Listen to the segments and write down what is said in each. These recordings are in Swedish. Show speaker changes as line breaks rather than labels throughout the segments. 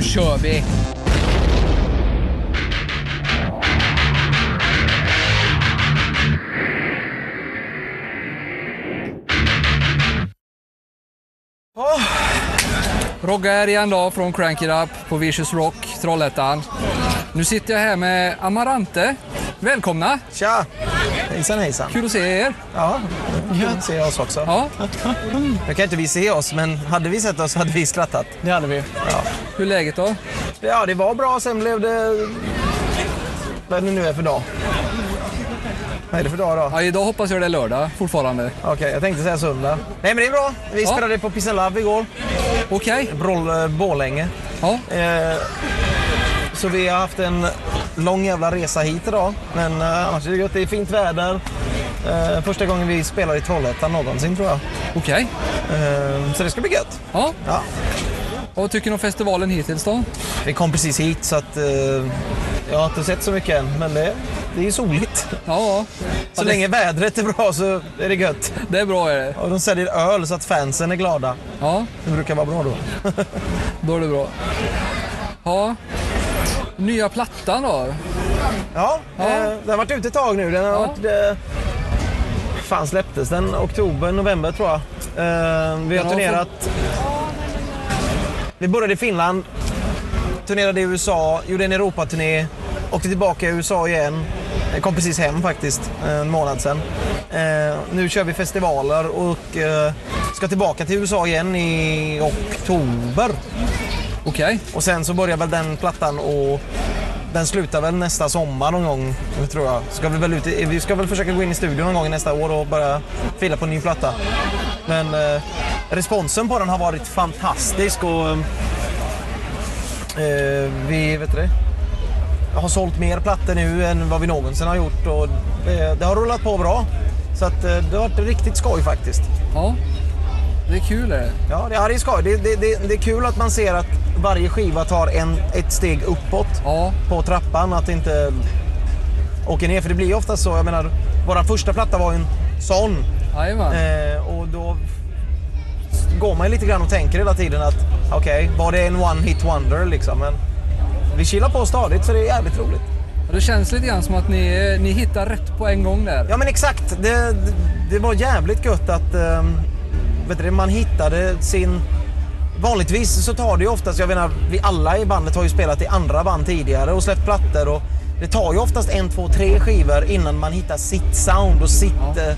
kör vi! Oh. Rogge här igen då från Crank It Up på Vicious Rock, Trollhättan. Nu sitter jag här med Amarante. Välkomna!
Tja! Hejsan hejsan.
Kul att se er.
Ja, kul att se oss också.
Ja.
Nu kan inte vi se oss, men hade vi sett oss hade vi skrattat.
Det hade vi.
Hur är läget då?
Ja, det var bra. Sen blev det... Vad det nu är för dag. Vad är det för dag då?
Ja, idag hoppas jag det är lördag fortfarande.
Okej, jag tänkte säga söndag. Nej, men det är bra. Vi
Ja.
spelade på Piss and Love igår.
Okej.
Broll, eh, Borlänge.
Ja.
Eh, så vi har haft en lång jävla resa hit idag. Men eh, annars är det gött. Det är fint väder. Eh, första gången vi spelar i Trollhättan någonsin tror jag.
Okej.
Eh, så det ska bli gött.
Ja.
Ja.
Och Vad tycker ni om festivalen hittills då?
Vi kom precis hit så att eh, jag har inte sett så mycket än. Men det, det är ju soligt.
Ja,
Så länge vädret är bra så är det gött.
det är bra är det.
Och de säljer öl så att fansen är glada.
Ja,
Det brukar vara bra då.
då är det bra. Ja. Nya plattan då?
Ja, eh, den har varit ute ett tag nu. Den har
Ja.
varit... Eh, fan släpptes den? Oktober, november tror jag. Eh, vi har
har
turnerat... Vi började i Finland, turnerade i USA, gjorde en Europaturné, åkte tillbaka i USA igen. Jag kom precis hem faktiskt, eh, en månad sedan. Eh, nu kör vi festivaler och eh, ska tillbaka till USA igen i oktober.
Okej.
Och sen så börjar väl den plattan och den slutar väl nästa sommar någon gång, tror jag. Ska vi, väl ut, i- vi ska väl försöka gå in i studion någon gång nästa år och bara fila på en ny platta. Men eh, responsen på den har varit fantastisk och eh, vi vet du det, har sålt mer plattor nu än vad vi någonsin har gjort och eh, det har rullat på bra. Så att, eh, det har varit riktigt skoj faktiskt.
Ja. Det är kul är det.
Ja, det, ja, det är skoj. Det, det, det, det är kul att man ser att varje skiva tar en, ett steg uppåt
Ja.
på trappan. Att det inte åker ner. För det blir ju ofta så. Jag menar, vår första platta var ju en sån.
Jajamän.
Eh, och då går man ju lite grann och tänker hela tiden att okej, var det en one hit wonder liksom? Men vi chillar på stadigt så det är jävligt roligt.
Det känns lite grann som att ni, ni hittar rätt på en gång där.
Ja men exakt. Det, det, det var jävligt gött att ehm, vet du, det, man hittade sin... Vanligtvis så tar det ju oftast, jag menar vi alla i bandet har ju spelat i andra band tidigare och släppt plattor och det tar ju oftast en, två, tre skivor innan man hittar sitt sound och sitt,
Ja.
eh,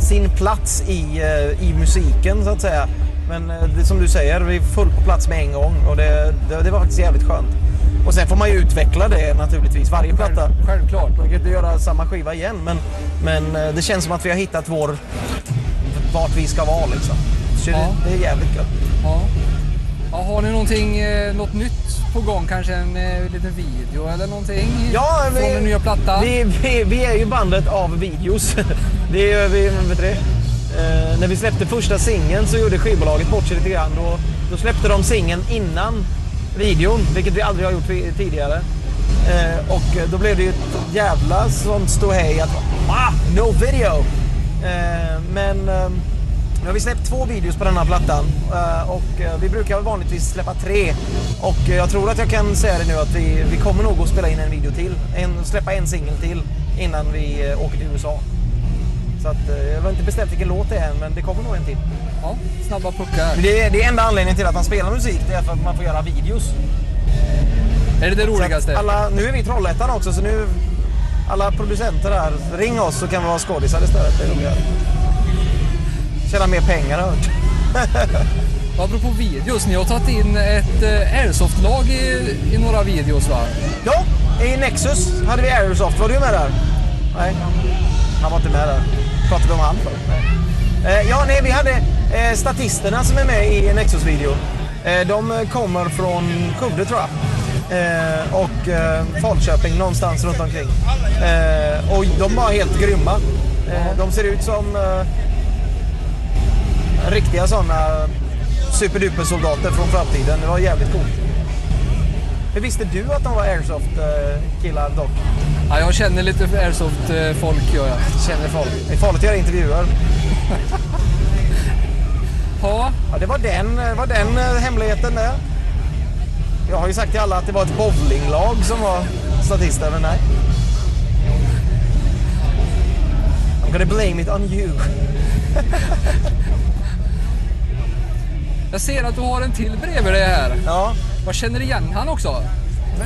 sin plats i, eh, i musiken så att säga. Men eh, det, som du säger, vi är fullt på plats med en gång och det, det, det var faktiskt jävligt skönt. Och sen får man ju utveckla det naturligtvis, varje platta.
Självklart.
Man kan inte göra samma skiva igen, men, men eh, det känns som att vi har hittat vår... Vart vi ska vara liksom. Så
Ja.
det, det är jävligt gött.
Ja. ja. Har ni någonting, eh, något nytt på gång? Kanske en eh, liten video eller någonting?
Ja, vi-
Från den nya plattan?
Vi, vi, vi är ju bandet av videos. Det är vi, vet du det? Eh, när vi släppte första singeln så gjorde skivbolaget bort sig lite grann. Då, då släppte de singeln innan videon, vilket vi aldrig har gjort vi- tidigare. Eh, och då blev det ju ett jävla sånt ståhej att ah, no video! Eh, men eh, nu har vi släppt två videos på den här plattan eh, och eh, vi brukar vanligtvis släppa tre. Och eh, jag tror att jag kan säga det nu att vi, vi kommer nog att spela in en video till, en, släppa en singel till innan vi eh, åker till USA. Så att, eh, jag har inte bestämt vilken låt det är än, men det kommer nog en till.
Ja, snabba puckar.
Men Det är, det är enda anledningen till att man spelar musik, det är för att man får göra videos.
Är det det
Så att
roligaste?
Alla, nu är vi i Trollhättan också, så nu... Alla producenter där, ring oss så kan vi vara skådisar istället. Det är roligare. Tjäna mer pengar har jag hört.
Apropå videos, ni har tagit in ett eh, airsoft-lag i, i några videos va?
Ja, i Nexus hade vi Aerosoft. Var du med där? Nej, han var inte med där. Pratade vi om han för? Nej. Eh, ja, nej, vi hade eh, statisterna som är med i Nexus-videon. Eh, de eh, kommer från Skövde tror jag. Eh, och eh, Falköping någonstans runt omkring. Eh, och de var helt grymma. Eh, de ser ut som eh, riktiga sådana superduper-soldater från framtiden. Det var jävligt coolt. Hur visste du att de var airsoft-killar dock?
Ja, jag känner lite airsoft-folk eh, gör jag.
Känner folk. Det är farligt att göra intervjuer.
Ja,
Ja, det var den, var den eh, hemligheten där. eh, Jag har ju sagt till alla att det var ett bowlinglag som var statister, men nej. I'm gonna blame it on you.
Jag ser att du har en till bredvid dig här.
Ja.
Jag känner igen han också.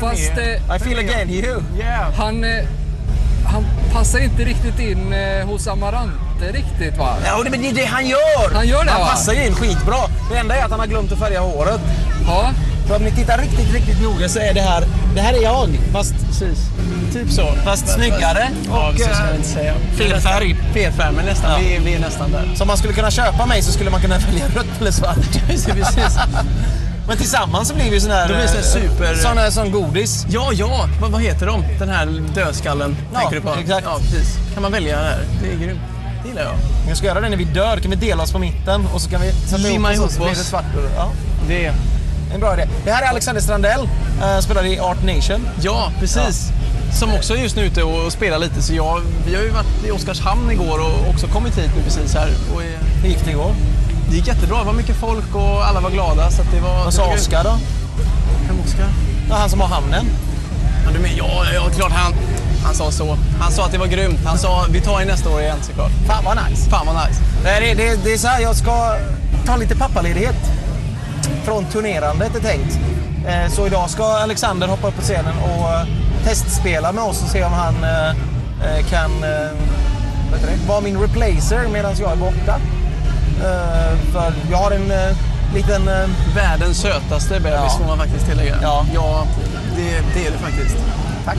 Fast
är-
eh,
I feel again you.
Yeah.
han, eh, han passar inte riktigt in eh, hos Amarante riktigt va?
Ja, men det är det han gör!
Han gör det,
Han
va?
passar ju in skitbra. Det enda är att han har glömt att färga håret.
Ja.
För om ni tittar riktigt, riktigt noga så är det här, det här är jag. Fast,
Precis. Typ så.
fast snyggare
Ja,
och
så ska jag
eh,
inte säga.
fel färg.
Fel färg, men nästan.
Ja.
Vi, är- vi är nästan där.
Så om man skulle kunna köpa mig så skulle man kunna välja rött eller svart.
Precis.
Men tillsammans så blir vi sån här... eh,
Då blir det sån här super-
Sån här som godis.
Ja, ja. Vad, vad heter de? Den här dödskallen
Ja,
tänker du på?
exakt.
Ja, precis. Kan man välja där? Det är grymt. Det gillar jag.
Jag ska göra det när vi dör. Kan vi dela oss på mitten och så kan vi sätta
Limma
ihop oss. Så
ihop
blir det
oss.
svart. Ja,
Det.
en bra idé. Det här är Alexander Strandell. eh, spelar i Art Nation.
Ja, precis. Som också är just nu ute och spelar lite. Så jag, vi har ju varit i Oskarshamn igår och också kommit hit nu precis här. Och är,
Hur gick det igår?
det gick jättebra. Det var mycket folk och alla var glada. Så att det var...
Vad sa
det-
Oskar då?
Vem Oskar?
Ja, han som har hamnen.
Ja, du men, ja, ja, klart han, han sa så. Han sa att det var grymt. Han sa vi tar in nästa år igen såklart.
Fan vad nice.
Fan vad nice.
Nej, Det, det, det är så här, jag ska ta lite pappaledighet från turnerandet är tänkt. Eh, Så idag ska Alexander hoppa upp på scenen och eh, testspela med oss och se om han eh, eh, kan eh, vad heter det, vara min replacer medan jag är borta. Eh, För jag har en eh, liten... eh,
Världens sötaste bebis
Ja.
får man faktiskt tillägga.
Ja.
ja det, det är det faktiskt.
Tack.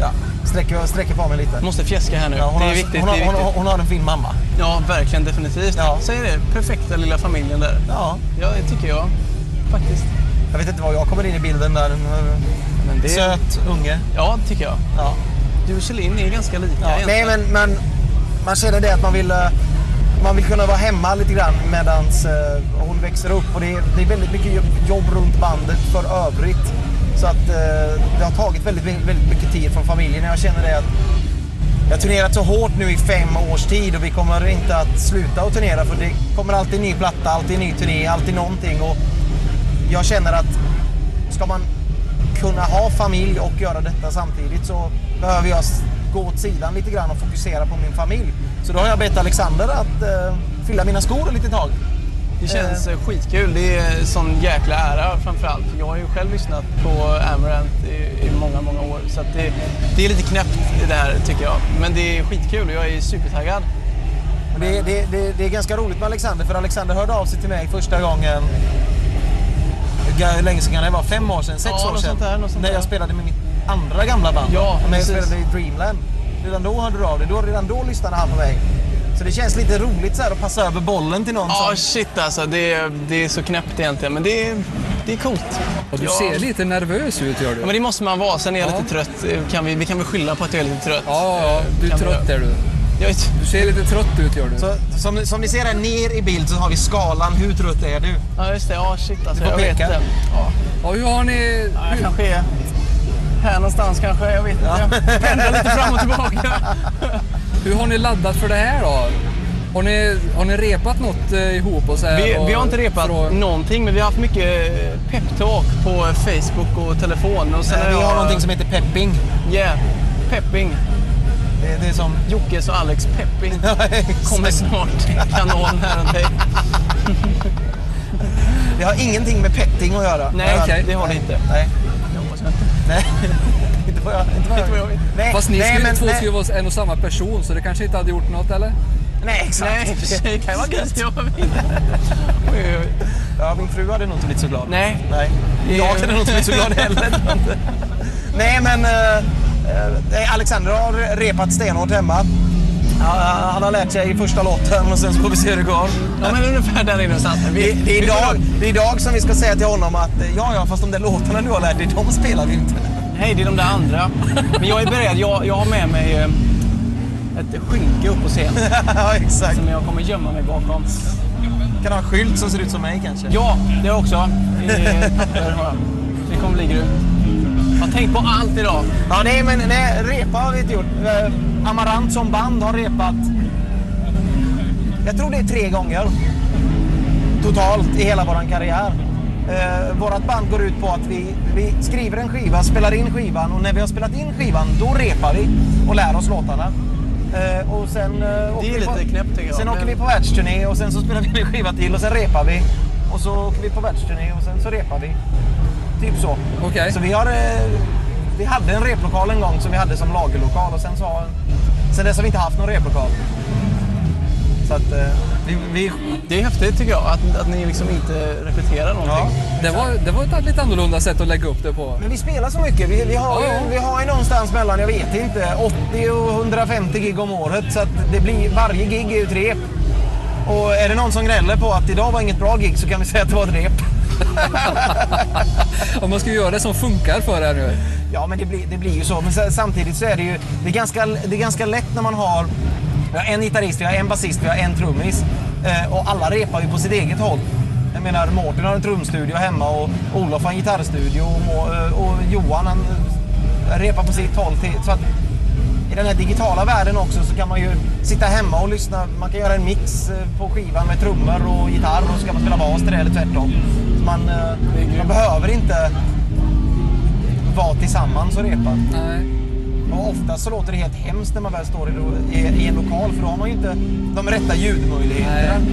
Ja, sträcker, sträcker på mig lite.
Jag måste fjäska här nu.
Ja, hon,
det är
har,
viktigt.
hon, har,
det är
hon,
viktigt.
har, hon har en fin mamma.
Ja, verkligen. Definitivt.
Ja.
Säger det. Perfekta lilla familjen där.
Ja,
Ja, det tycker jag. Faktiskt.
jag vet inte var jag kommer in i bilden där.
Men det...
Söt unge.
Ja, det tycker jag.
Ja.
Du och Celine är ganska lika
Ja, nej,
egentligen.
men, men man känner det att man vill, eh, man vill kunna vara hemma lite grann medan hon växer upp. Och det är, det är väldigt mycket jobb- jobb runt bandet för övrigt. Så att eh, det har tagit väldigt, väldigt, väldigt mycket tid från familjen. Jag känner det att jag har turnerat så hårt nu i fem års tid och vi kommer inte att sluta att turnera för det kommer alltid ny platta, alltid ny turné, alltid någonting. Och jag känner att ska man kunna ha familj och göra detta samtidigt så behöver jag s- gå åt sidan lite grann och fokusera på min familj. Så då har jag bett Alexander att eh, fylla mina skor ett litet tag.
Det känns eh, skitkul. Det är sån jäkla ära framförallt. Jag har ju själv lyssnat på Amaranth i, i många, många år. Så att det, det är lite knäppt det här tycker jag. Men det är skitkul och jag är supertaggad.
Och Det, det, det, det är ganska roligt med Alexander för Alexander hörde av sig till mig första gången Hur länge sedan kan det vara? Fem år sedan? Sex
Ja,
år
något
sedan?
sånt där, något sånt
när jag
där.
spelade med mitt andra gamla band.
Ja,
när jag
precis.
spelade i Dreamland. Redan då hörde du av dig. Då, redan då lyssnade han på mig. Så det känns lite roligt så här att passa över bollen till någon
Ja,
som...
shit alltså. Det, det är så knäppt egentligen. Men det, är- det är coolt.
Och du
ja.
ser lite nervös ut gör du.
Ja,
Ja,
men det måste man vara. Sen är jag
Ja.
lite trött. Kan vi, vi kan väl skylla på att jag är lite trött.
ja,
Eh,
du är
kan vi
trött
göra.
är du.
Jag är t-
Du ser lite trött ut gör du.
Så, som, ni- som ni ser här ner i bild så har vi skalan. Hur trött är du?
Ja, just det. Ja, shit alltså.
Du
Jag
får
vet
peka.
inte. Ja.
Ja, hur har ni...
Ja, jag kanske är här någonstans kanske. Jag vet inte. Jag pendlar lite fram och tillbaka.
Hur har ni laddat för det här då? Har ni, har ni repat något eh, ihop? Och så här,
Vi,
och,
vi har inte repat
för att-
någonting, men vi har haft mycket eh, peptalk på Facebook och telefon. Och sen
Vi har någonting som heter pepping.
Yeah, pepping.
Det, det är som...
Jockes och Alex pepping. Kommer snart i kanalen här runt dig.
det har ingenting med petting att göra.
Nej,
okej.
det har det inte.
Nej.
Jag hoppas inte.
Nej. inte vad jag, inte vad
Inte vad jag vet.
Nej,
Fast ni
nej,
skulle, två
nej.
skulle vara en och samma person så det kanske inte hade gjort något eller?
Nej, exakt.
Nej, i och för sig. Kan vara gött. Jag vet inte. Oj, oj, oj.
Ja, min fru hade nog inte blivit så glad.
Nej.
Nej.
Det-
Jag hade nog inte blivit så glad heller. tror jag inte. Nej, men eh, eh, Alexander har repat stenhårt hemma. Ja, han har lärt sig första låten och sen så får vi se hur det går.
Ja, men ungefär där inne någonstans. Men
Det,
vi-
det, är
vi får
idag,
nog-
det är idag som vi ska säga till honom att eh, ja, ja, fast de där låtarna du har lärt dig, de spelar vi inte.
Nej, det är de där andra. Men jag är beredd. Jag, jag har med mig eh, ett skynke upp på scen
ja, exakt.
som jag kommer gömma mig bakom.
Kan ha en skylt som ser ut som mig kanske.
Ja, det har jag också. Eh, där har jag. Det kommer bli grymt. Jag har tänkt på allt idag.
Ja, nej, men nej, repa har vi inte gjort. Eh, Amarant som band har repat. Jag tror det är tre gånger. Totalt i hela våran karriär. Eh, vårat band går ut på att vi, vi skriver en skiva, spelar in skivan och när vi har spelat in skivan då repar vi och lär oss låtarna. Eh, och sen, eh, åker vi
lite knäppt, tycker jag,
Sen
men-
åker vi på världsturné och sen så spelar vi en skiva till och sen repar vi. Och så åker vi på världsturné och sen så repar vi. Typ så.
Okej.
Så vi har... Eh, vi hade en replokal en gång som vi hade som lagerlokal och sen så har... Sen dess har vi inte haft någon replokal. Så att eh, vi, vi
Det är häftigt tycker jag, att, att ni liksom inte repeterar någonting.
Det var, det var ett lite annorlunda sätt att lägga upp det på.
Men vi spelar så mycket. Vi, vi, har,
Ja, ja.
ju, vi har ju någonstans mellan, jag vet inte, 80 och 150 gig om året. Så att det blir, varje gig är ju ett rep. Och är det någon som gnäller på att idag var inget bra gig så kan vi säga att det var ett rep.
Om man ska göra det som funkar för er nu.
Ja, men det blir, det blir ju så. Men sa- samtidigt så är det ju det är ganska, det är ganska lätt när man har vi har en gitarrist, vi har en basist, vi har en trummis. Eh, och alla repar ju på sitt eget håll. Jag menar, Mårten har en trumstudio hemma och Olof har en gitarrstudio och, Må- eh, och Johan han eh, repar på sitt håll. Till, så att i den här digitala världen också så kan man ju sitta hemma och lyssna. Man kan göra en mix eh, på skivan med trummor och gitarr och så kan man spela bas till det eller tvärtom. Så man, eh, man behöver inte vara tillsammans och repa.
Nej.
Och ofta så låter det helt hemskt när man väl står i, lo- i, i en lokal för då har man ju inte de rätta ljudmöjligheterna.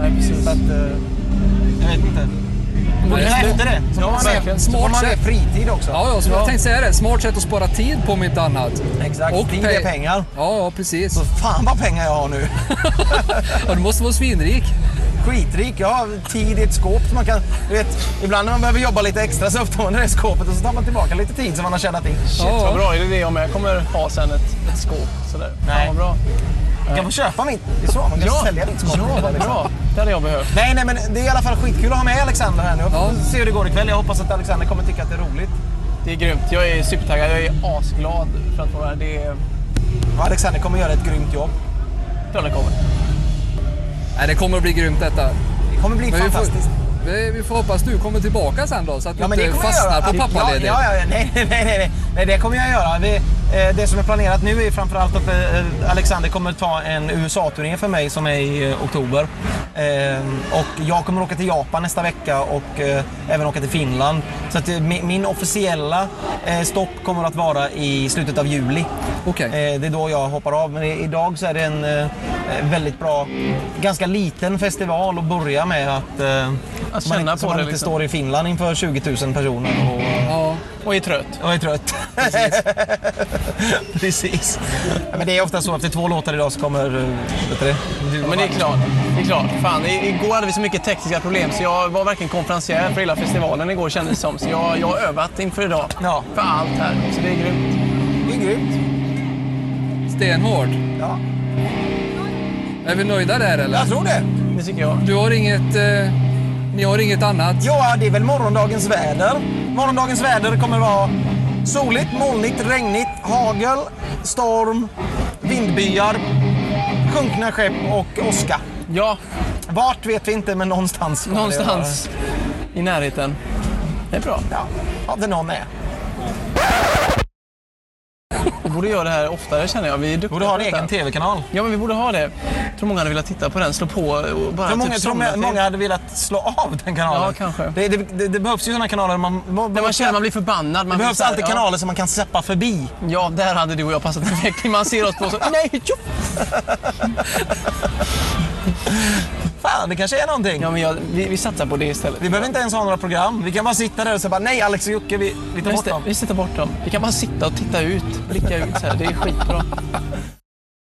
Nej, precis.
Så att, eh, jag vet inte.
Nej,
Och det är
det-
efter det. Så
Ja,
får man är,
verkligen.
så får
Smart
man är
sätt.
fritid också.
Ja, ja, så jag tänkte säga det. Smart sätt att spara tid på mitt annat.
Exakt. Tid är
pe-
pengar.
Ja, ja precis.
Så fan vad pengar jag har nu.
Ja, du måste vara svinrik.
Skitrik. Jag har tid i ett skåp som man kan... Du vet, ibland när man behöver jobba lite extra så öppnar man det där skåpet och så tar man tillbaka lite tid som man har tjänat in.
Shit
Ja.
vad bra, är det det jag med kommer ha sen ett, ett skåp sådär?
Nej.
Fan vad bra.
Du kan få köpa mitt. Det är så. Man kan sälja ditt skåp.
ja, vad
liksom.
bra. Det hade jag behövt.
Nej, nej, men det är i alla fall skitkul att ha med Alexander här nu. Jag får
Ja.
se hur det går ikväll. Jag hoppas att Alexander kommer tycka att det är roligt.
Det är grymt. Jag är supertaggad. Jag är asglad för att vara här. Det är...
Och Alexander kommer göra ett grymt jobb.
Klart det kommer.
Nej, det kommer att bli grymt detta.
Det kommer bli
vi får,
fantastiskt.
vi, vi får hoppas du kommer tillbaka sen då så att du
det
inte
kommer jag
fastnar
göra.
på pappaledigt.
Ja, ja, ja. Nej, nej, nej, nej, nej. Det kommer jag göra. Vi, eh, det som är planerat nu är framförallt att eh, Alexander kommer ta en USA-turné för mig som är i eh, oktober. Eh, och jag kommer åka till Japan nästa vecka och eh, även åka till Finland. Så att, eh, min, min officiella eh, stopp kommer att vara i slutet av juli.
Okej.
Eh, Det är då jag hoppar av. Men i- idag så är det en eh, väldigt bra, ganska liten festival att börja med. Att, eh,
Att
man
känna
inte,
på
så man
det,
inte
liksom.
står i Finland inför 20 000 personer och,
Ja.
Och är trött.
och är trött. Precis. Ja, Men det är ofta så efter två låtar idag så kommer... eh, Vet du det?
Ja, men det är klart. Det är klart. Fan, i- igår hade vi så mycket tekniska problem så jag var verkligen konferencier för hela festivalen igår kändes det som. Så jag, jag har övat inför idag.
Ja.
För allt här. Så det är grymt.
Det är grymt.
Stenhård.
Ja,
Är vi nöjda där eller?
jag tror det.
Det tycker jag.
Du har inget... Eh, ni har inget annat?
Ja, det är väl morgondagens väder. Morgondagens väder kommer vara soligt, molnigt, regnigt, hagel, storm, vindbyar, sjunkna skepp och åska.
Ja,
Vart vet vi inte, men någonstans. kommer det
någonstans i närheten. Det är bra.
vara. Ja, ja det någon är.
Vi borde göra det här oftare känner jag. Vi är duktiga
Borde ha en
på detta.
egen tv-kanal.
Ja, men vi borde ha det. Jag tror många hade velat titta på den, slå på och bara
För
typ
många, tror
somna
jag,
till.
många hade velat slå av den kanalen.
Ja, kanske.
Det, det, det, det behövs ju sådana kanaler. Man, man,
Där man känner man blir förbannad. Man
det behövs
blir så här,
alltid
ja.
kanaler som man kan zappa förbi.
Ja, där hade du och jag passat perfekt. Man ser oss på så, nej, tjoff!
Fan, det kanske är någonting.
Ja, men jag, vi, vi satsar på det istället.
Vi behöver inte ens ha några program. Vi kan bara sitta där och säga bara, nej Alex och Jocke, vi, vi tar
Just
bort
det,
dem.
vi sätter bort dem. Vi kan bara sitta och titta ut, blicka ut så här. Det är skitbra.